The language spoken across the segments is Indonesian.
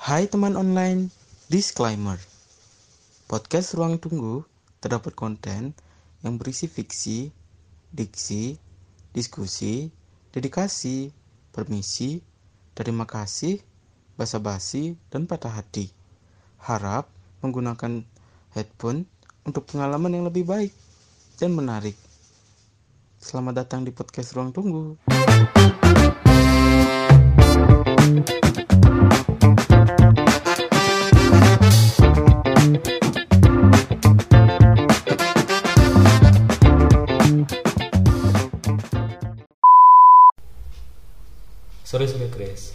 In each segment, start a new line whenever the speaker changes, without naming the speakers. Hai teman online, disclaimer. Podcast Ruang Tunggu terdapat konten yang berisi fiksi, diksi, diskusi, dedikasi, permisi, terima kasih, basa-basi, dan patah hati. Harap menggunakan headphone untuk pengalaman yang lebih baik dan menarik. Selamat datang di podcast Ruang Tunggu.
Sorry sorry Chris,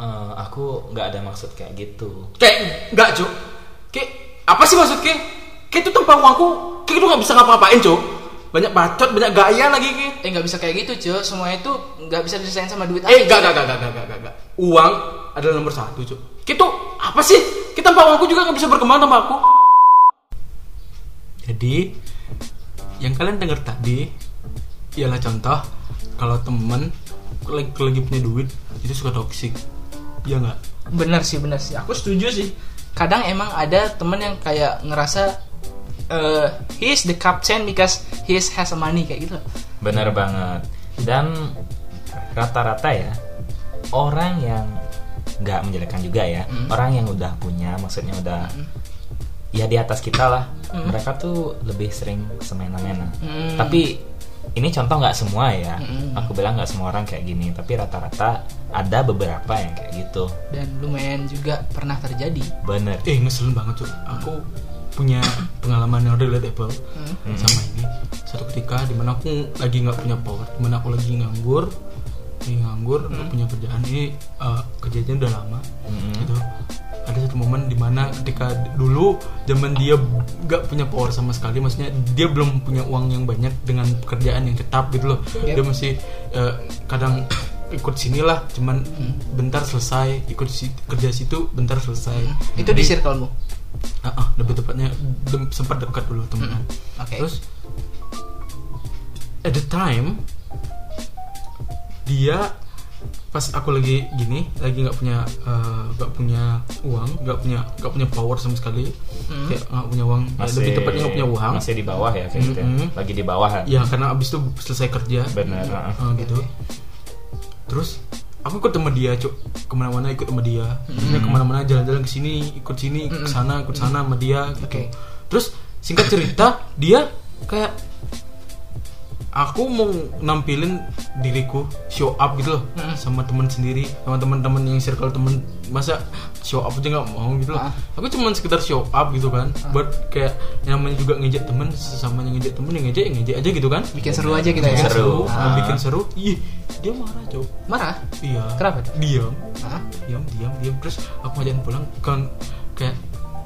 Eh, aku nggak ada maksud kayak gitu.
Kayak enggak, Cuk. Kayak apa sih maksud Kayak Kayak itu tanpa uangku, kayak itu nggak bisa ngapa-ngapain, Cuk. Banyak bacot, banyak gaya lagi, kayak.
Eh nggak bisa kayak gitu cuy, semua itu nggak bisa diselesaikan sama duit
Eh, enggak, enggak, enggak, enggak, enggak, enggak, enggak. Uang adalah nomor satu, Cuk. Kayak itu apa sih? Kayak tanpa uangku juga nggak bisa berkembang tanpa aku. Jadi, yang kalian dengar tadi ialah contoh kalau temen lagi, lagi punya duit itu suka toksik. Iya enggak?
Bener sih bener sih, aku setuju sih. Kadang emang ada temen yang kayak ngerasa eh he is the captain because he is has money kayak gitu.
Bener banget. Dan rata-rata ya orang yang nggak menjelekkan juga ya, orang yang udah punya, maksudnya udah ya di atas kita lah. Mereka tuh lebih sering semena-mena.
Hmm.
Tapi ini contoh nggak semua ya. Aku bilang nggak semua orang kayak gini, tapi rata-rata ada beberapa yang kayak gitu.
Dan lumayan juga pernah terjadi.
Bener.
eh ngeselin banget cuy aku punya pengalaman yang relatable sama ini satu ketika dimana aku lagi nggak punya power dimana aku lagi nganggur lagi nganggur nggak punya kerjaan ini eh, kerjanya udah lama gitu ada satu momen dimana ketika dulu zaman dia nggak punya power sama sekali maksudnya dia belum punya uang yang banyak dengan pekerjaan yang tetap gitu loh dia masih eh, kadang ikut sinilah cuman bentar selesai ikut si- kerja situ bentar selesai
Hmm. Itu di circlemu.
Ah, ah, lebih tepatnya dem- sempat dekat dulu temenan.
Oke.
Terus at the time dia pas aku lagi gini, lagi nggak punya eh, nggak punya uang, nggak punya nggak punya power sama sekali, kayak nggak punya uang, eh,
Masih,
lebih tepatnya nggak punya uang.
Masih di bawah ya kayak gitu ya.
Mm-mm.
Lagi di bawah kan.
Ya karena abis itu selesai kerja,
Bener. ah.
Ah, gitu. Terus aku ikut sama dia, cuk. Kemana-mana ikut sama dia.
Hmm.
Maksudnya kemana-mana jalan-jalan ke sini, ikut sini, ikut sana, ikut sana sama dia. Gitu.
Oke.
Terus singkat cerita dia kayak aku mau nampilin diriku show up gitu loh
Hmm.
sama teman sendiri sama teman-teman yang circle temen masa show up aja nggak mau gitu loh
Ah.
aku cuman sekedar show up gitu kan buat kayak yang namanya juga ngejek temen sesama yang ngejek temen yang ngejek yang ngejek aja gitu kan
Bikin seru aja kita ya.
bikin
Seru.
seru,
Ah.
bikin seru ih dia marah cok
Marah? Ah.
iya
Kenapa?
diam
Hah?
diam diam diam terus aku ngajakin pulang kan kayak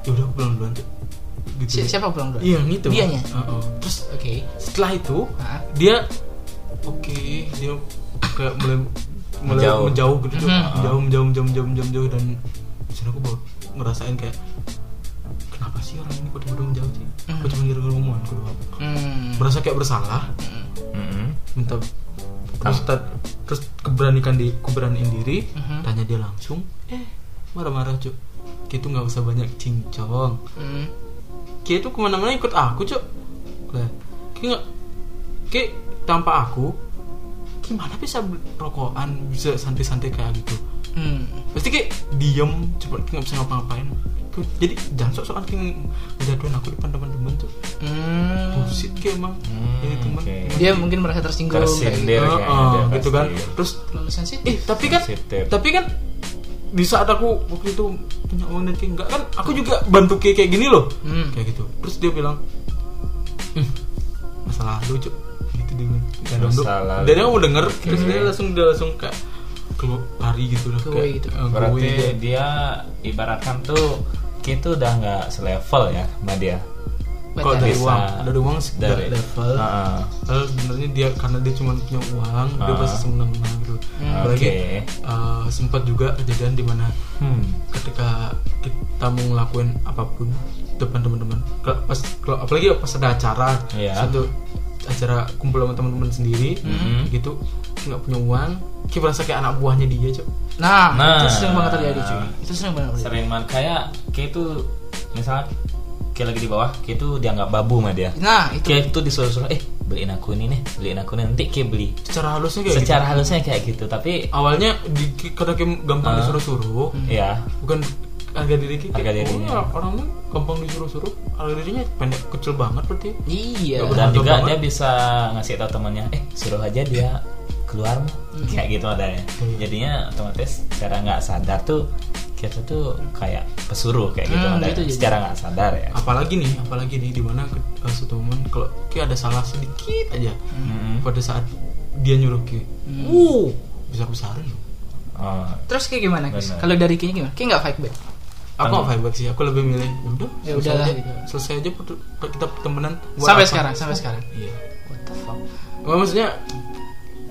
yaudah aku pulang duluan cok gitu
Si- siapa pulang dulu?
iya gitu
Dianya?
Heeh. terus
Oke. Ah.
setelah itu
Hah?
dia oke dia kayak mulai mulai
Menjauh.
menjauh, gitu tuh
Mhm.
jauh menjauh menjauh menjauh menjauh menjauh dan disini aku baru ngerasain kayak kenapa sih orang ini pada udah menjauh sih
Mm.
aku cuma gara-gara omongan aku doang
Hmm.
merasa kayak bersalah
Mm-mm.
minta terus ta- terus keberanikan di keberaniin diri
Mhm.
tanya dia langsung eh marah-marah cuk gitu nggak usah banyak cincong
Hmm.
Kia tuh kemana-mana ikut aku cok lah Kia nggak Kia tanpa aku gimana bisa beli rokokan bisa santai-santai kayak gitu
Hmm.
pasti Kia diem cepat Kia nggak bisa ngapa-ngapain Kia- jadi jangan sok-sokan Kia ngejatuhin aku depan teman-teman cok
Hmm.
bullshit Kia emang
Hmm,
jadi teman
oke.
Dia mungkin merasa tersinggung.
Tersindir.
Kayak gitu.
Heeh,
kayaknya dia
gitu kan
pasti. ya.
terus
Terlalu sensitif.
eh tapi kan
Sensitif.
tapi kan di saat aku waktu itu punya uang dan kayak enggak kan aku juga bantu kayak kayak gini loh
Hmm.
kayak gitu terus dia bilang "Hmm, masa lalu cuk gitu dia bilang Nggak ada
Masa
untuk-
lalu.
dan dia mau denger terus
Oke.
dia langsung dia langsung kayak keluar lari gitu loh
Keluar gitu.
eh,
Berarti
gue.
dia ibaratkan tuh kita udah nggak selevel ya sama dia.
kalau
Baca.
dari
Bisa.
uang dari uang sekitar
Dari- Ah.
level
Heeh.
Padahal sebenarnya dia karena dia cuma punya uang dia
Ah.
pasti seneng-seneng gitu
Hmm.
apalagi
Oke.
eh, sempat juga kejadian di mana
Hmm.
ketika kita mau ngelakuin apapun depan teman-teman Ke- pas kalau- apalagi pas ada acara
Iya.
satu acara
Mm-hmm.
kumpul sama teman-teman sendiri gitu nggak punya uang kita merasa kayak anak buahnya dia cok
Nah,
Nah.
itu sering banget terjadi cuy. Itu sering banget terjadi.
sering banget kayak kayak itu misalnya kayak lagi di bawah kayak itu dianggap babu sama dia
Nah, itu
kayak itu disuruh-suruh eh beliin aku ini nih beliin aku ini nanti kayak beli
secara halusnya kayak gitu.
secara halusnya kayak gitu tapi
awalnya di, karena kayak gampang
Ah.
disuruh-suruh
ya
bukan harga diri kita
Harga
Oh,
dirinya.
ya, orang mah gampang disuruh-suruh harga dirinya pendek kecil banget berarti
iya.
Gak
dan
Mantap
juga
banget.
dia bisa ngasih tau temannya eh suruh aja dia keluar Mu."
Hmm.
kayak gitu adanya jadinya otomatis secara nggak sadar tuh kita tuh kayak pesuruh kayak gitu
Hmm,
adanya.
gitu jadi.
secara nggak sadar ya
apalagi nih apalagi nih dimana uh, satu momen kalau kayak ada salah sedikit aja
Hmm.
Mm-mm.
pada saat dia nyuruh kayak uh besar besaran
Oh,
Terus kayak gimana, Chris?
Benar.
Kalau dari kayaknya gimana? Kayak nggak fight back.
aku nggak fight back sih aku lebih milih udah
Ya
selesai
udahlah,
aja
gitu.
selesai aja per- per- kita temenan Buat
Sampai
apa?
sekarang, sampai sekarang.
iya Nggak, maksudnya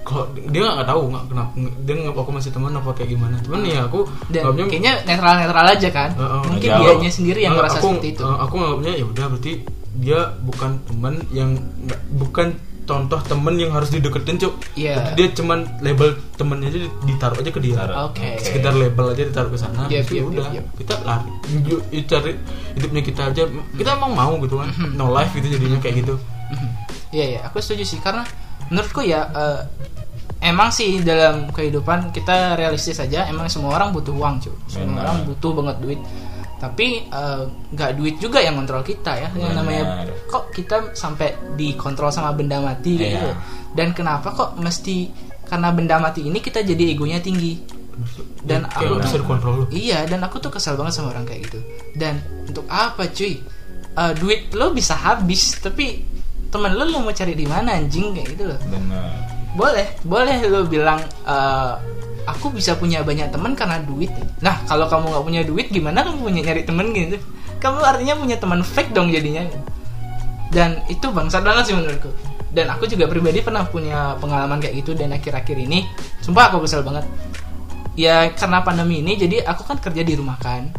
kalau dia nggak tahu nggak kenapa nggak- dia nggak aku masih teman apa kayak gimana cuman ya aku
Dan
nganggapnya-
kayaknya netral-netral aja kan.
Eh, eh,
Mungkin
jauh.
dianya sendiri yang
Nggak,
merasa
aku,
seperti itu.
eh, aku nganggapnya ya udah berarti dia bukan teman yang nggak- bukan contoh temen yang harus dideketin cuk
Iya.
Tapi dia cuman label temennya aja ditaruh aja ke dia
Taruh.
Oke.
sekitar label aja ditaruh ke sana
Iya,
habis itu
iya,
udah
iya, iya.
kita lari Yuk, yuk cari hidupnya kita aja kita
Mm-hmm.
emang mau gitu kan no life gitu jadinya kayak gitu
Iya iya, aku setuju sih karena menurutku ya eh, emang sih dalam kehidupan kita realistis aja, emang semua orang butuh uang cuy, semua
Benar.
orang butuh banget duit. Tapi eh, nggak duit juga yang kontrol kita ya, yang namanya
Benar.
kok kita sampai dikontrol sama benda mati kayak
Iya.
gitu. Dan kenapa kok mesti karena benda mati ini kita jadi egonya tinggi. Dan
kayak
aku-
nggak bisa dikontrol lu
Iya, dan aku tuh kesel banget sama orang kayak gitu. Dan untuk apa, cuy? Eh, duit lo bisa habis, tapi temen lo lo mau cari di mana anjing kayak gitu loh.
benar
Boleh, boleh lo bilang eh, aku bisa punya banyak temen karena duit. Nah, kalau kamu nggak punya duit, gimana kamu punya nyari temen gitu? Kamu artinya punya teman fake dong jadinya. Dan itu bangsat banget sih menurutku. Dan aku juga pribadi pernah punya pengalaman kayak gitu dan akhir-akhir ini, sumpah aku kesel banget. Ya karena pandemi ini, jadi aku kan kerja di rumah kan.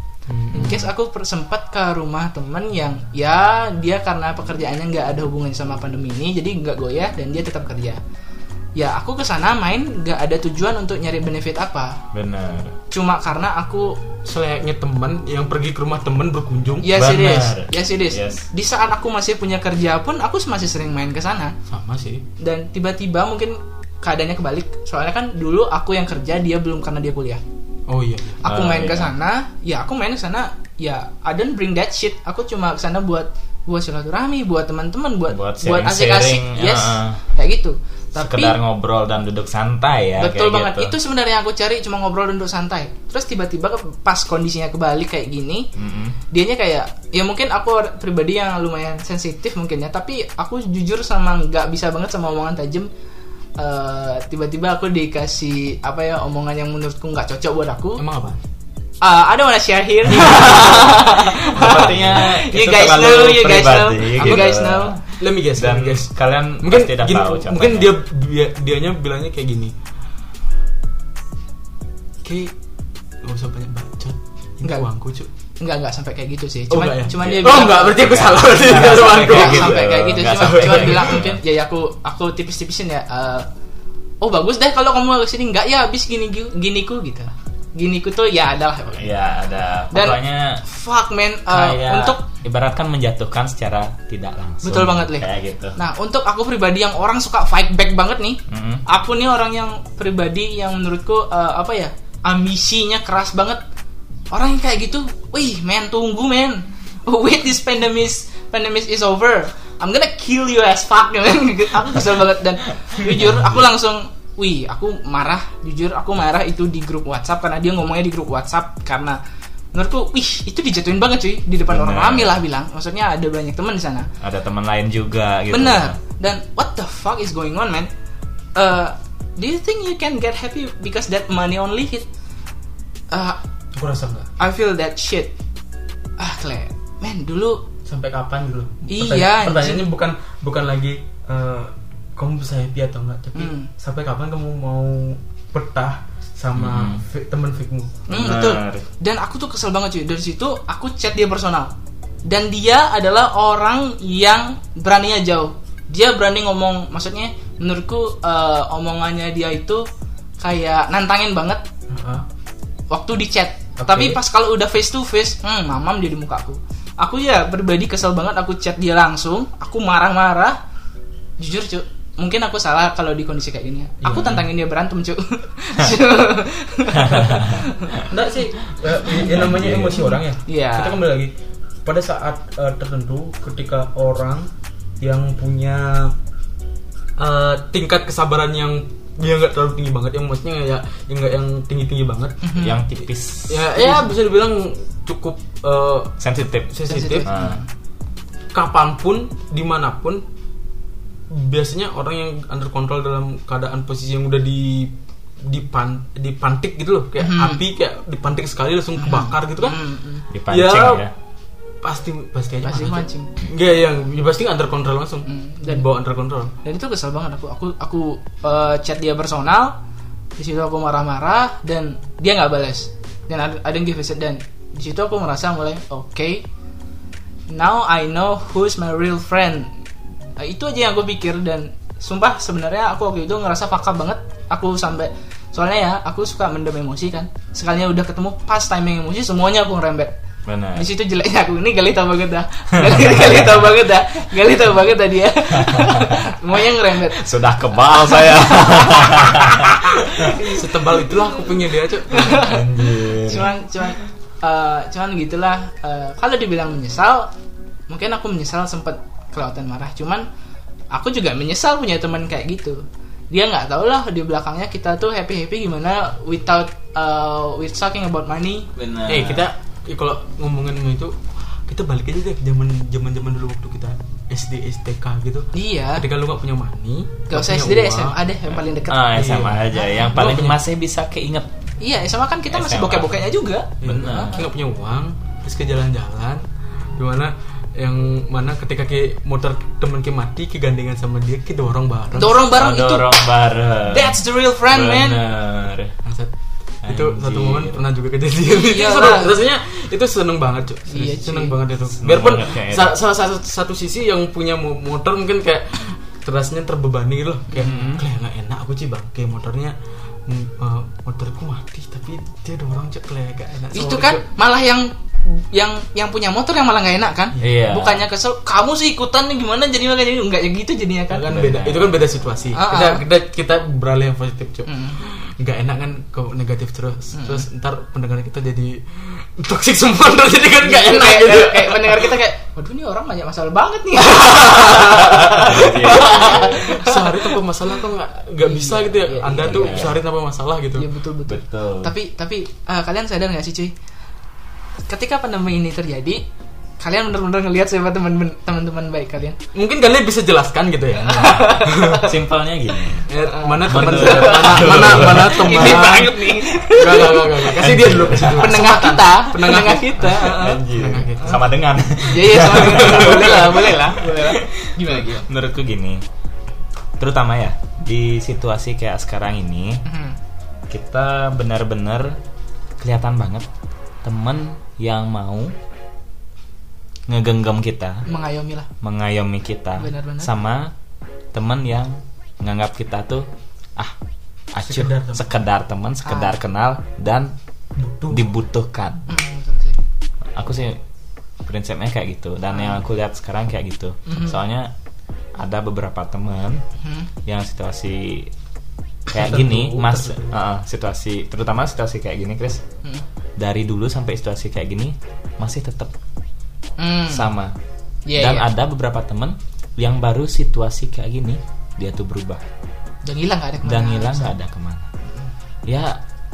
In case aku per- sempat ke rumah temen yang ya dia karena pekerjaannya nggak ada hubungan sama pandemi ini jadi nggak goyah dan dia tetap kerja. Ya aku kesana main nggak ada tujuan untuk nyari benefit apa.
benar
Cuma karena aku
selayaknya teman yang pergi ke rumah teman berkunjung
ya
Benar.
serius, ya serius.
Yes.
Di saat aku masih punya kerja pun aku masih sering main ke sana
sama sih
dan tiba-tiba mungkin keadaannya kebalik. Soalnya kan dulu aku yang kerja dia belum karena dia kuliah.
oh iya
Ah,
aku main
iya.
ke sana ya aku main ke sana ya I don't bring that shit aku cuma ke sana buat buat silaturahmi buat teman-teman buat
Buat
buat,
sharing-sharing,
asik-asik yes
ah.
kayak gitu tapi
sekedar ngobrol dan duduk santai ya
betul
kayak
banget
gitu.
itu sebenarnya yang aku cari cuma ngobrol dan duduk santai terus tiba-tiba ke- pas kondisinya kebalik kayak gini
Mm-mm.
dianya kayak ya mungkin aku or- pribadi yang lumayan sensitif mungkin ya tapi aku jujur sama nggak bisa banget sama omongan tajam Eh, tiba-tiba aku dikasih apa ya omongan yang menurutku nggak cocok buat aku
emang apa
uh, I don't wanna share here.
Sepertinya itu
you guys
terlalu
know, you guys know,
pribadi,
you
gitu.
guys know.
let me guess
dan
let me guess
kalian
mungkin
pasti udah
gini,
tahu contohnya.
mungkin dia, dia dianya bilangnya kayak gini Oke gak usah banyak bacot ini
Enggak.
uangku cuy
Enggak enggak sampai kayak gitu sih.
Oh,
Cuman
enggak ya?
cuman dia
oh
bilang
enggak berarti aku
Enggak.
salah berarti
Enggak
itu
sampai
uangku
enggak
gitu.
sampai kayak gitu.
Enggak
Cuman
sampai
cuman
kayak
bilang
gitu.
mungkin ya, ya aku aku tipis-tipisin ya. eh, oh bagus deh kalau kamu ke sini enggak ya habis gini giniku gitu. Giniku tuh ya adalah pokoknya.
ya ada
Dan-
pokoknya
Fuck man eh,
kayak
untuk
ibaratkan menjatuhkan secara tidak langsung
Betul banget, Le.
kayak gitu
Nah, untuk aku pribadi yang orang suka fight back banget nih.
Mm-mm.
Aku nih orang yang pribadi yang menurutku eh, apa ya? Ambisinya keras banget. Orang yang kayak gitu, wih, men tunggu, men. Oh, Wait, this pandemic pandemic is over. I'm gonna kill you as fuck, men. aku kesel banget dan jujur aku langsung wih, aku marah. Jujur aku marah itu di grup WhatsApp karena dia ngomongnya di grup WhatsApp karena menurutku, wih, itu dijatuhin banget cuy di depan orang
Bener.
ramai lah bilang. Maksudnya ada banyak teman di sana.
ada teman lain juga gitu
Bener. Dan what the fuck is going on, man? Uh, do you think you can get happy because that money only hit? Uh,
aku rasa enggak
I feel that shit. Ah, Claire. Man, dulu
sampai kapan gitu loh.
Iya,
Pertanya-
anjing.
pertanyaannya bukan bukan lagi eh, kamu bisa happy atau enggak tapi
Hmm.
sampai kapan kamu mau betah sama fi- temen fikmu
Hmm,
Bener.
betul. Dan aku tuh kesel banget cuy. Dari situ aku chat dia personal. Dan dia adalah orang yang beraninya jauh. Dia berani ngomong, maksudnya uh, menurutku eh, omongannya dia itu kayak nantangin banget
Heeh.
waktu di chat
Oke.
tapi pas kalau udah face to face hmm mamam dia di muka aku aku ya pribadi kesel banget aku chat dia langsung aku marah-marah jujur cu mungkin aku salah kalau di kondisi kayak gini ya. aku tantangin dia berantem cu
Enggak sih, eh, yang namanya emosi orang ya.
Iya.
Kita kembali lagi pada saat eh, tertentu ketika orang yang punya eh, tingkat kesabaran yang dia nggak terlalu tinggi banget, yang maksudnya ya yang nggak yang tinggi tinggi banget.
Mm-hmm. yang tipis
Ya, ya
Iya.
bisa dibilang cukup eh,
sensitif
sensitif.
Sensitif.
Ah,
Kapanpun, dimanapun, biasanya orang yang under control dalam keadaan posisi yang udah di dipan dipantik gitu loh kayak
Hmm.
api kayak dipantik sekali langsung kebakar gitu kan
dipancing ya,
Ya. pasti pasti aja
Pasti mancing.
Enggak yang ya pasti under control langsung.
Hmm,
Dan
dan-
bawa under control.
dan itu kesel banget aku aku aku eh, chat dia personal di situ aku marah-marah dan dia nggak balas dan ada, ada yang give a shit. dan di situ aku merasa mulai oke now I know who's my real friend Eh, itu aja yang aku pikir dan sumpah sebenarnya aku waktu itu ngerasa fakap banget aku sampai soalnya ya aku suka mendem emosi kan sekalinya udah ketemu pas timing emosi semuanya aku ngerembet
benar
di situ jeleknya aku ini galita banget dah galita, galita banget dah galita banget dah dia semuanya ngerembet
sudah kebal saya
Nah, Setebal itulah aku punya dia, Cuk.
Hmm.
Anjir.
cuman cuman eh, cuman gitulah Eh, kalau dibilang menyesal mungkin aku menyesal sempat kelewatan marah cuman aku juga menyesal punya teman kayak gitu dia nggak tahu lah di belakangnya kita tuh happy happy gimana without eh, with talking about money
benar
Eh, kita eh, kalau ngomongin itu kita balik aja deh zaman zaman zaman dulu waktu kita SD STK gitu.
iya
Ketika lu gak punya money,
gak usah
punya
SD deh
uang,
SMA deh yang paling deket
ah sama aja yang paling masih bisa keinget
iya SMA kan kita masih
SMA.
bokeh-bokehnya juga
iya,
Benar.
Kita gak punya uang, terus ke jalan-jalan dimana yang mana ketika ke motor temen ke mati kegandengan sama dia ke dorong bareng
dorong bareng gitu. itu
dorong bareng
That's the real friend, man.
Bener.
Bangsat. itu
Anjir.
satu momen pernah juga kejadian itu
Iyalah.
seru rasanya itu seneng banget cuy
Iya,
Serius,
cuy.
seneng banget itu
Seneng
biarpun
banget kayak
sa- salah satu satu sisi yang punya mo- motor mungkin kayak terasnya terbebani gitu loh kayak kayak nggak enak aku sih bang kayak motornya mm, eh, motorku mati tapi dia dorong cek kayak gak enak Sorry,
itu kan
Cuk.
malah yang yang yang punya motor yang malah nggak enak kan
Iya.
bukannya kesel kamu sih ikutan nih gimana jadi makanya ini nggak ya gitu jadinya kan
kan beda itu kan beda situasi
Ah,
kita,
ah.
kita kita beralih yang positif cuy
Mm.
nggak enak kan kalau negatif terus
Hmm.
terus ntar pendengar kita jadi toxic semua terus jadi kan nggak enak
kayak,
gitu
kayak, kayak pendengar kita kayak waduh ini orang banyak masalah banget nih
sehari tanpa masalah tuh nggak nggak bisa gitu ya. Anda tuh sehari tanpa masalah gitu.
Iya betul betul
betul
tapi tapi eh, kalian sadar nggak sih cuy ketika pandemi ini terjadi kalian benar-benar ngelihat siapa teman teman-teman baik kalian
Mungkin kalian bisa jelaskan gitu ya.
Iya.
simpelnya gini
Eh, mana teman
Bener.
mana mana mana teman.
ini banget nih
Gak, gak, gak, gak, gak. Kasih Eh, dia dulu, kasih dulu.
pendengar kita pendengar kita eh, eh.
Anjir.
Pendengar kita.
sama dengan
ya ya sama dengan- boleh lah boleh lah boleh lah gimana gimana
menurutku gini terutama ya di situasi kayak sekarang ini
Mhm.
kita benar-benar kelihatan banget temen yang mau ngegenggam kita
mengayomi lah
mengayomi kita
Benar-benar.
sama temen yang nganggap kita tuh ah acuh
Sekedar
sekedar teman
teman.
sekedar, kenal dan dibutuhkan
Hmm, betul sih.
aku sih prinsipnya kayak gitu dan yang aku lihat sekarang kayak gitu soalnya ada beberapa temen
Hmm.
yang situasi kayak gini mas Heeh, situasi terutama situasi kayak gini Chris
Hmm.
dari dulu sampai situasi kayak gini masih tetap
Hmm.
sama
Iya,
dan
iya.
ada beberapa temen yang baru situasi kayak gini dia tuh berubah
Nah, Dan hilang nggak ada kemana.
dan hilang nggak ada kemana ya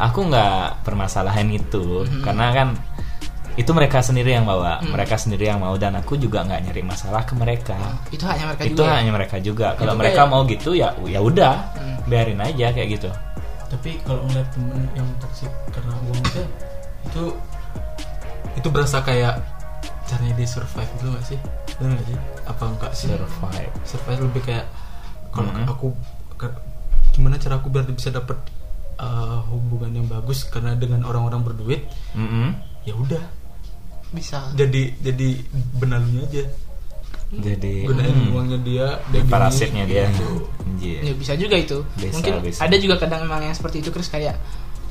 aku nggak permasalahan itu
Hmm.
karena kan itu mereka sendiri yang bawa mereka sendiri yang mau dan aku juga nggak nyari masalah ke mereka
Itu hanya mereka
itu
juga. ya?
hanya mereka juga kalau mereka mau gitu ya ya udah
Hmm.
biarin aja kayak gitu
Tapi kalau ngeliat temen yang toksik karena uang itu itu itu berasa kayak caranya dia survive gitu gak sih? Bener gak sih? Apa enggak sih?
survive
survive lebih kayak kalau
Mhm.
aku ke- gimana cara aku biar bisa dapat uh, hubungan yang bagus karena dengan orang-orang berduit
Mm-mm.
ya udah
Bisa.
jadi jadi benalunya aja
jadi
gunain
mm,
uangnya dia
di
dia gini,
parasitnya dia
gitu.
Anjir.
Ya bisa juga itu.
Bisa,
Mungkin
bisa.
ada juga kadang memang yang seperti itu Chris kayak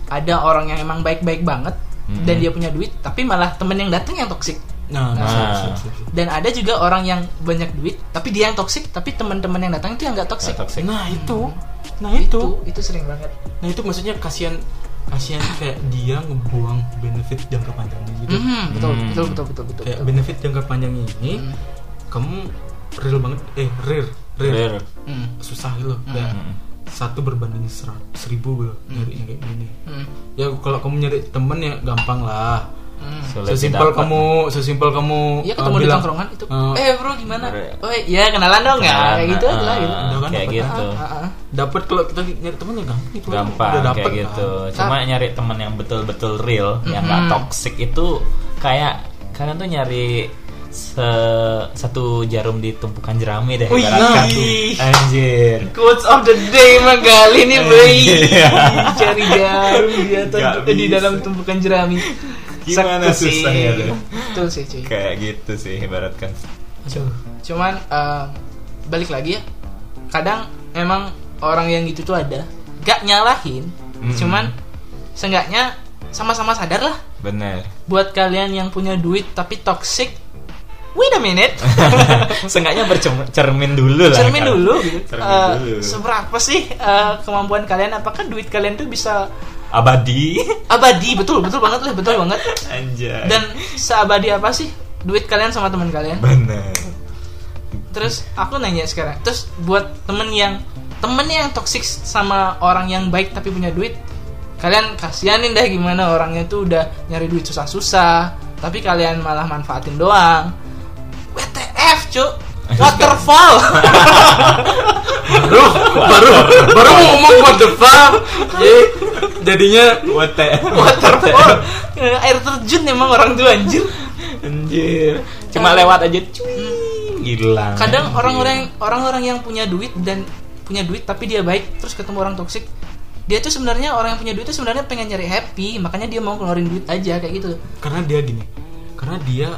ada orang yang emang baik-baik banget
Mm-mm.
dan dia punya duit tapi malah temen yang datang yang toksik
Nah, nah,
Nah.
siap, siap, siap, siap.
dan ada juga orang yang banyak duit tapi dia yang toksik tapi teman-teman yang datang itu yang nggak toksik
Nggak toxic. Gitu.
nah itu, nah
itu,
itu,
itu sering banget
nah itu maksudnya kasihan kasihan kayak dia ngebuang benefit jangka panjangnya gitu.
Mhm, betul,
Hmm.
betul betul betul betul
Kayak
betul.
benefit jangka panjangnya ini
Hmm.
kamu real banget eh real real,
Rare. Mhm.
Hmm,
susah gitu loh. Kayak
Mm-mm.
satu berbanding serat, seribu gitu nyarinya kayak gini.
hmm,
Ya kalau kamu nyari temen ya gampang lah.
hmm.
Sulit
Sesimpel
didapat.
kamu, sesimpel kamu
Iya ketemu
eh,
di
bilang,
tongkrongan itu.
eh,
eh bro gimana?
Bro. ya.
Oh iya kenalan dong ya
Kenalan,
kayak gitu
ah,
aja lah gitu.
Udah kan
kayak
dapet.
gitu
Ah, ah, ah.
dapat kalau kita nyari temennya gampang itu
gampang
udah dapet
kayak gitu
kan.
cuma nyari temen yang betul-betul real yang gak toxic itu kayak kalian tuh nyari se- satu jarum di tumpukan jerami deh
Wih,
ibaratkan.
wih.
anjir
Quotes of the day Magali nih boy Cari jarum di atas
Iya. Nggak
eh, di
bisa.
dalam tumpukan jerami.
Gimana ya,
Sakti sih.
susahnya tuh?
Betul sih cuy.
kayak gitu sih ibaratkan
Aduh.
Cuman eh, balik lagi ya. Kadang emang orang yang gitu tuh ada. Gak nyalahin.
Mm-mm.
Cuman seenggaknya sama-sama sadar lah
bener
buat kalian yang punya duit tapi toxic. Wait a minute.
seenggaknya bercermin dulu lah
Cermin
kan.
dulu gitu.
Cermin
Eh,
dulu.
seberapa sih eh, kemampuan kalian? Apakah duit kalian tuh bisa
abadi
abadi? Betul, betul banget lah, betul banget.
anjay
Dan seabadi apa sih duit kalian sama teman kalian?
bener
Terus aku nanya sekarang. Terus buat temen yang temen yang toksik sama orang yang baik tapi punya duit, kalian kasihanin deh gimana orangnya tuh udah nyari duit susah-susah, tapi kalian malah manfaatin doang. WTF, cuk. Waterfall.
baru baru baru mau ngomong what the fuck Eh, jadinya
what the
waterfall air terjun emang orang tuh anjir
anjir cuma lewat aja cuy gila
kadang orang-orang orang-orang yang punya duit dan punya duit tapi dia baik terus ketemu orang toksik dia tuh sebenarnya orang yang punya duit tuh sebenarnya pengen nyari happy makanya dia mau keluarin duit aja kayak gitu
karena dia gini karena dia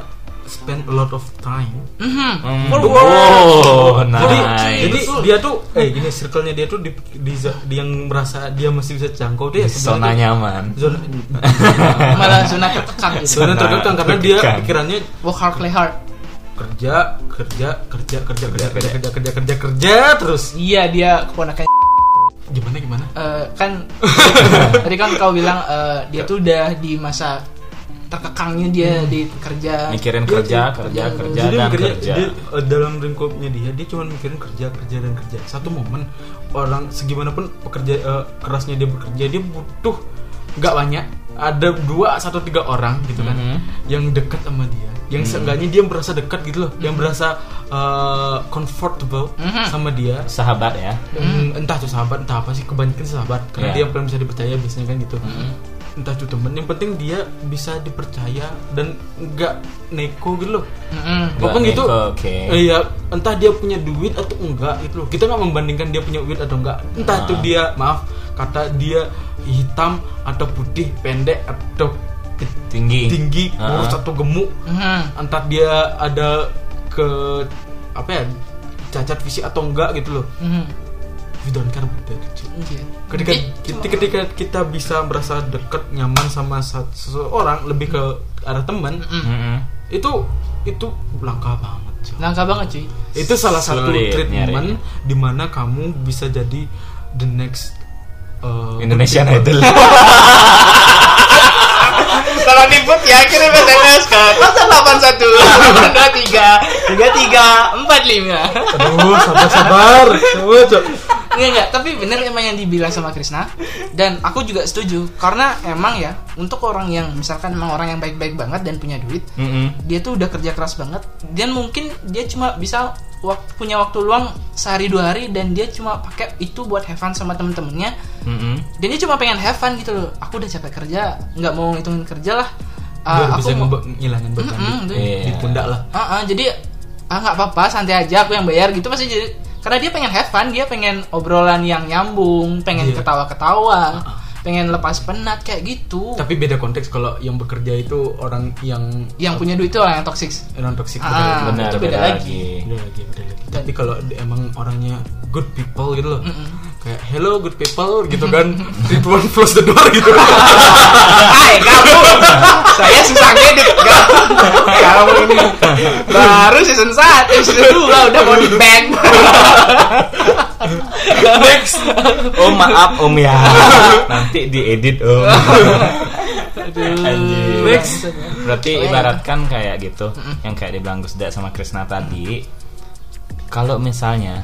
spend a lot of time
Mhm.
Hmm.
Wow.
Wow,
jadi
nice.
jadi dia tuh eh gini circle-nya dia tuh di, di, di yang merasa dia masih bisa jangkau dia
zona
sebenarnya
nyaman
tuh zona
malah zona terkekang gitu
Zona-
zona terkekang karena dia
terkekang.
pikirannya
work hard play hard
kerja kerja kerja kerja kerja kerja
kerja.
kerja kerja kerja kerja terus
iya dia keponakan
gimana gimana
Eh, kan tadi kan kau bilang eh, dia tuh udah di masa terkekangnya dia di kerja
Hmm. mikirin
Dia
kerja
tuh-
kerja
dia-
kerja
Jadi
dan
mikirnya
kerja
dia, eh, dalam lingkupnya dia dia cuma mikirin kerja kerja dan kerja. Satu momen orang segimanapun pekerja eh, kerasnya dia bekerja dia butuh nggak banyak ada dua satu tiga orang gitu kan
Mhm.
yang dekat sama dia yang seenggaknya dia merasa dekat gitu loh yang merasa eh, comfortable
Mhm.
sama dia
sahabat ya
Hmm, entah tuh sahabat entah apa sih kebanyakan sahabat
Iya.
karena dia yang paling bisa dipercaya biasanya kan gitu entah tuh temen yang penting dia bisa dipercaya dan nggak neko gitu loh
Mhm.
Nggak
Walaupun gitu,
neko, oke.
iya entah dia punya duit atau enggak gitu loh. Kita nggak membandingkan dia punya duit atau enggak. Entah
Ah.
itu dia, maaf, kata dia hitam atau putih, pendek atau ke-
tinggi
tinggi, Oh, kurus
Ah.
atau gemuk.
Mhm.
Entah dia ada ke apa ya cacat fisik atau enggak gitu loh.
Mhm.
We don't care about that, cuy.
Iya.
Ketika,
Jadi cuma-
ketika ketika kita bisa merasa dekat nyaman sama sa- seseorang lebih ke arah teman
Mm-mm.
itu itu langka banget cuy.
langka banget cuy
itu salah satu
Sulit
treatment
nyarinya.
di mana kamu bisa jadi the next uh,
Indonesian Idol
Kalau input ya kirim SMS ke 081 23 33 45.
aduh sabar sabar Coba, coba.
Enggak enggak, tapi bener emang yang dibilang sama Krisna dan aku juga setuju karena emang ya untuk orang yang misalkan emang orang yang baik-baik banget dan punya duit,
Mm-mm.
dia tuh udah kerja keras banget dan mungkin dia cuma bisa wak- punya waktu luang sehari dua hari dan dia cuma pakai itu buat have fun sama temen-temennya
Mm-mm.
dan dia cuma pengen have fun gitu loh aku udah capek kerja nggak mau ngitungin kerja lah Ah,
biar
aku
bisa
mau-
ngebe- ngilangin beban di-
Mm-mm,
di,
Iya.
pundak lah
Ah, ah, jadi ah nggak apa-apa santai aja aku yang bayar gitu pasti jadi karena dia pengen have fun dia pengen obrolan yang nyambung pengen
Iya.
ketawa-ketawa pengen lepas penat kayak gitu
tapi beda konteks kalau yang bekerja itu orang yang
yang punya duit itu orang yang toxic
non toxic
Ah,
beda lagi.
benar
itu beda
beda
lagi.
lagi
Beda lagi beda lagi tapi kalau di- emang orangnya good people gitu loh kayak hello good people gitu kan Ridwan close the door gitu
Ah, Hai kamu Saya susah ngedit kamu. kamu ini Baru season 1 eh, Season 2 udah mau di ban
Next. Oh maaf om ya. Nanti diedit om. Anjir.
Next.
Berarti ibaratkan kayak gitu, yang kayak dibilang Gusda sama Krisna tadi. Kalau misalnya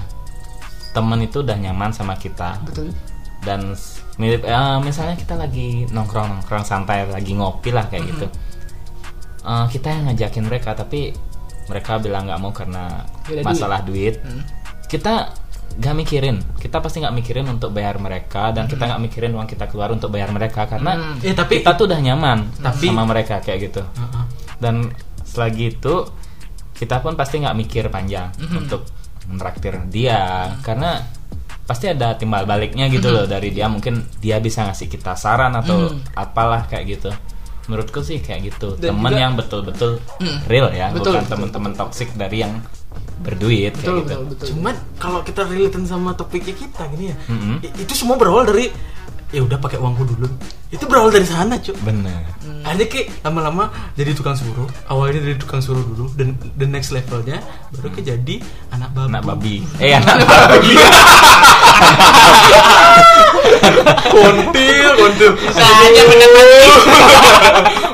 temen itu udah nyaman sama kita
Betul
dan s- mirip eh, misalnya kita lagi nongkrong nongkrong santai lagi ngopi lah kayak gitu. Eh, kita yang ngajakin mereka tapi mereka bilang nggak mau karena
Beda duit.
masalah duit.
Hmm.
Kita nggak mikirin, kita pasti nggak mikirin untuk bayar mereka dan kita nggak mikirin uang kita keluar untuk bayar mereka karena
ya tapi
kita tuh udah nyaman
Nah,
Tapi-
sama mereka kayak gitu
Heeh.
dan selagi itu kita pun pasti nggak mikir panjang untuk menraktir dia karena pasti ada timbal baliknya gitu loh dari dia mungkin dia bisa ngasih kita saran atau apalah kayak gitu menurutku sih kayak gitu
Dan
teman
juga- Mm.
yang betul-betul real ya
Betul,
bukan teman-teman toksik dari yang berduit kayak
Betul
gitu
betul betul
cuman kalau kita relatein sama topiknya kita gini ya
Mm-mm.
i- itu semua berawal dari ya udah pakai uangku dulu itu berawal dari sana cuy
bener
Akhirnya kayak lama-lama jadi tukang suruh awalnya dari tukang suruh dulu dan the next levelnya baru ke jadi anak babi
anak babi eh anak babi
kontil kontil
Bisa aja menepati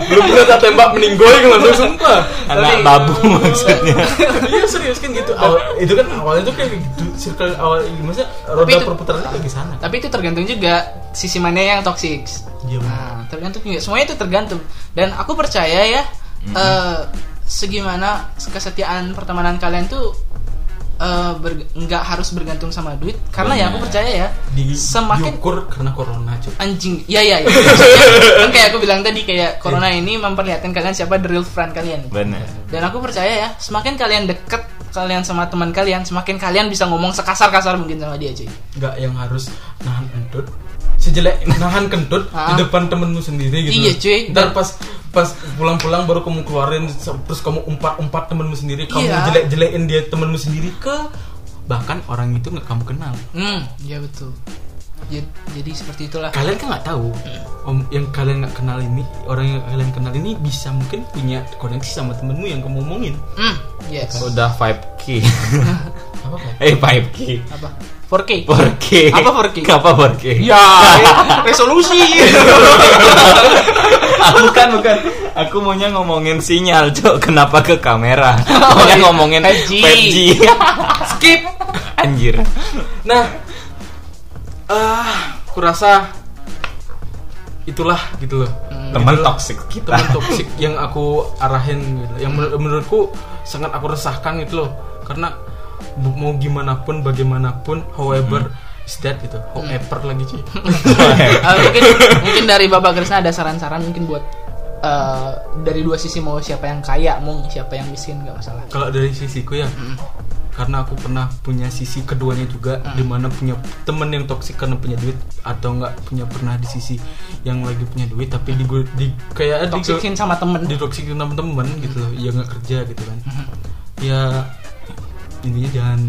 belum pernah tak tembak meninggoy kan langsung sumpah
anak babu maksudnya
iya serius kan gitu Awal- itu kan awalnya tuh kayak gitu circle awal maksudnya roda
itu-
perputaran kayak di sana
Tapi itu tergantung juga Sisi mana yang toxic
iya benar
Nah, tergantung juga. Semuanya itu tergantung. Dan aku percaya ya, eh, segimana kesetiaan pertemanan kalian tuh eh, ber- nggak harus bergantung sama duit. Karena ya aku
Benar.
percaya ya,
di
semakin
diukur karena corona cuy
anjing, ya ya. ya. Maksudnya, kan kayak aku bilang tadi kayak corona ini memperlihatkan kalian siapa the real friend kalian.
bener
Dan aku percaya ya, semakin kalian deket kalian sama teman kalian, semakin kalian bisa ngomong sekasar-kasar mungkin sama dia cuy.
nggak yang harus nahan kentut sejelek nahan kentut di
Ah.
depan temenmu sendiri gitu
Iya, cuy.
ntar pas pas pulang-pulang baru kamu keluarin se- terus kamu umpat-umpat temenmu sendiri kamu
Iya.
jelek-jelekin dia temenmu sendiri ke bahkan orang itu nggak kamu kenal
Hmm, ya betul. Jadi, jadi seperti itulah.
kalian kan nggak tahu
Hmm.
om yang kalian nggak kenal ini orang yang kalian kenal ini bisa mungkin punya koneksi sama temenmu yang kamu omongin
Hmm, yes.
udah 5k
apa kayak
eh 5k
Apa? 4K.
4K.
Apa 4K?
Apa 4K?
Ya, resolusi.
Iya,
Aku bukan bukan. Aku maunya ngomongin sinyal, Cok. Kenapa ke kamera? Maunya
iya.
ngomongin
5G.
5G.
Skip.
Anjir.
nah ah kurasa itulah gitu loh
Teman toksik kita.
teman toksik yang aku arahin gitu. yang menur- menurutku sangat aku resahkan gitu loh karena bu- mau gimana pun bagaimanapun however is that gitu however lagi cuy
Eh, mungkin mungkin dari Bapak Krisna ada saran-saran mungkin buat eh, dari dua sisi mau siapa yang kaya, mau siapa yang miskin nggak masalah.
kalau dari sisiku ya karena aku pernah punya sisi keduanya juga dimana punya temen yang toksik karena punya duit atau nggak punya pernah di sisi yang lagi punya duit tapi di, di kayak di-
Toksikin sama temen.
ditoksikin temen-temen gitu loh ya nggak kerja gitu kan ya intinya jangan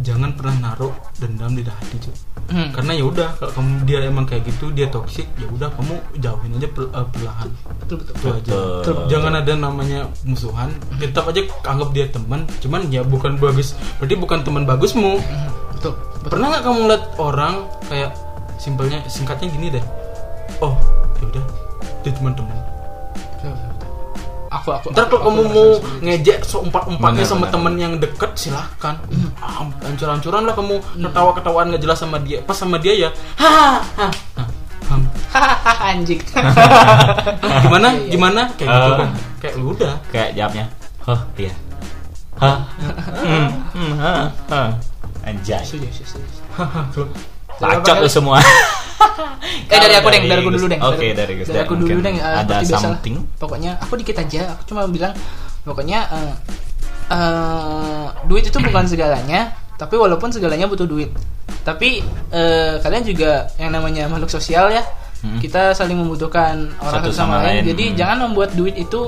jangan pernah naruh dendam di hati cuy
Hmm.
karena ya udah kalau kamu dia emang kayak gitu dia toksik ya udah kamu jauhin aja pel- eh, perlahan
Betul betul.
itu aja
Betul.
jangan ada namanya musuhan tetap aja anggap dia teman cuman ya bukan bagus berarti bukan teman bagusmu
Hmm, Betul. betul.
pernah nggak kamu lihat orang kayak simpelnya singkatnya gini deh oh ya udah dia cuma teman
Betul, betul, betul. Aku aku.
Ntar
aku-
kalau kamu
aku
mau
merasa seperti
ngejek seumpat umpatnya
Benar,
sama
benar.
temen yang deket silahkan Ah, Hancur-hancuran lah kamu
Hmm.
Ketawa-ketawaan gak jelas sama dia Pas sama dia ya Hahaha Nah, paham?
itu. Hahaha, anjing.
Ah, Gimana?
Iya, iya.
Gimana? Kayak gitu
Ah.
kan Kayak udah
Kayak jawabnya. Hah, iya. Hah. Hmm, hmm, hah, hah. Anjay.
Setuju, setuju, setuju.
Hahaha, tuh.
Lacot lu semua.
Eh dari aku deng, dari aku dulu deng.
Oke, dari Gus
Dari aku
Deng,
dulu
mungkin
deng. eh,
ada
seperti biasa lah.
something?
Pokoknya aku dikit aja. Aku cuma bilang pokoknya eh, eh, duit itu bukan segalanya. Tapi walaupun segalanya butuh duit. Tapi eh, kalian juga yang namanya makhluk sosial ya.
Hmm.
Kita saling membutuhkan orang
Satu
satu sama,
sama lain.
lain. Jadi
Hmm.
jangan Kan membuat duit itu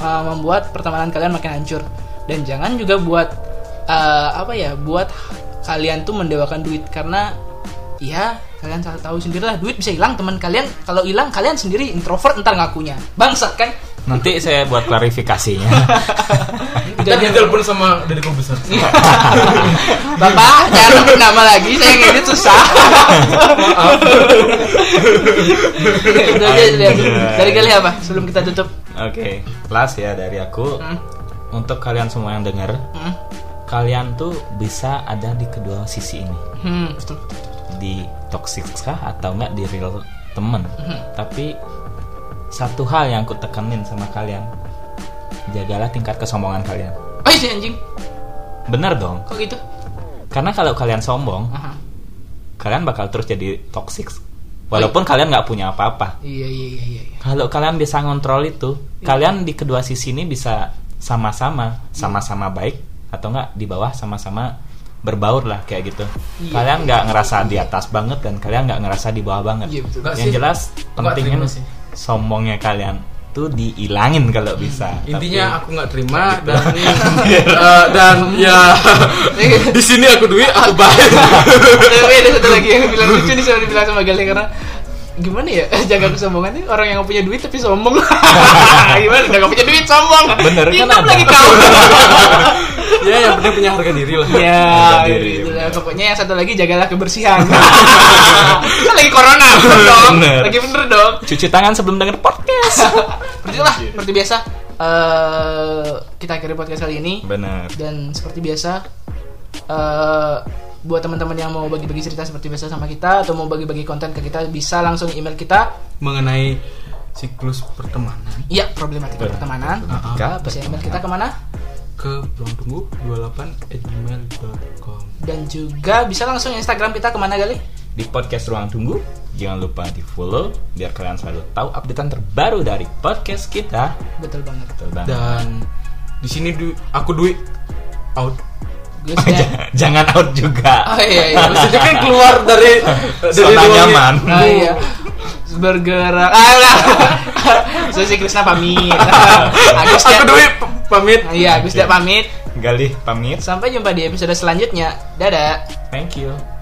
eh, membuat pertemanan kalian makin hancur. Dan jangan uh, juga buat eh, apa ya, buat kalian tuh mendewakan duit karena Iya, kalian tahu tahu sendiri lah duit bisa hilang teman kalian kalau hilang kalian sendiri introvert entar ngakunya bangsat kan
Nanti saya buat klarifikasinya.
Kita
Kejadian-
ditelepon sama dari kau besar.
Bapak, jangan sebut nama lagi, saya ngedit susah. Itu aja dari, dari kali apa? Sebelum kita tutup.
Oke, kelas ya dari aku.
Hmm.
Untuk kalian semua yang dengar,
Hmm.
kalian tuh bisa ada di kedua sisi ini.
Hmm, betul.
Di toxic kah atau enggak di real temen.
Hmm.
Tapi satu hal yang aku tekenin sama kalian, jagalah tingkat kesombongan kalian.
Oh, si anjing.
Bener dong.
Kok gitu?
Karena kalau kalian sombong,
Aha.
kalian bakal terus jadi toxic. Walaupun kalian nggak punya apa-apa.
Iya, iya, iya, iya. iya.
Kalau kalian bisa ngontrol itu, kalian di kedua sisi ini bisa sama-sama, sama-sama baik atau enggak di bawah sama-sama berbaur lah kayak gitu.
Iya.
Kalian nggak ngerasa di atas banget dan kalian nggak ngerasa di bawah banget.
Iya, betul.
Nggak
Yang
sih.
jelas
Nggak
pentingnya
terima sih.
sombongnya kalian tuh diilangin kalau bisa.
Intinya
Tapi- gitu.
aku nggak terima dan eh, dan ya
Iya.
di sini aku duit aku bayar.
Tapi ada satu lagi yang bilang lucu nih sama dibilang sama Galih karena gimana ya jaga kesombongan nih orang yang gak punya duit tapi sombong gimana udah gak punya duit sombong
Bener, kan
Hitam
ada.
lagi kau
ya yang penting punya harga diri lah.
Iya.
Ya,
Harga diri,
gitu lah.
bener.
pokoknya yang satu lagi jagalah kebersihan. Kan lagi corona, bener dong.
Bener.
Lagi bener dong.
cuci tangan sebelum denger podcast.
Seperti itulah,
Iya.
seperti biasa. eh, kita akhiri podcast kali ini
Benar.
dan seperti biasa eh buat teman-teman yang mau bagi-bagi cerita seperti biasa sama kita atau mau bagi-bagi konten ke kita bisa langsung email kita
Mengenai siklus pertemanan
ya problematika pertemanan
Problematika
bisa email kita kemana
ke ruang tunggu 28@gmail.com.
dan juga bisa langsung Instagram kita kemana kali
Di podcast Ruang Tunggu, jangan lupa di follow biar kalian selalu tahu updatean terbaru dari podcast kita.
betul banget
Betul banget.
Dan di sini du- aku duit out.
Gue
Oh,
sudah-
jangan- jangan out juga.
ya? oh iya iya
Maksudnya kan keluar dari dari
Zona
ruangnya.
nyaman.
Ah, iya. Bergerak. Ah, lah. Saya si Krisna pamit. Agus
Aku
Dea-
duit p- pamit.
Ah, Iya, Agus tidak pamit.
Galih pamit.
Sampai jumpa di episode selanjutnya. Dadah.
Thank you.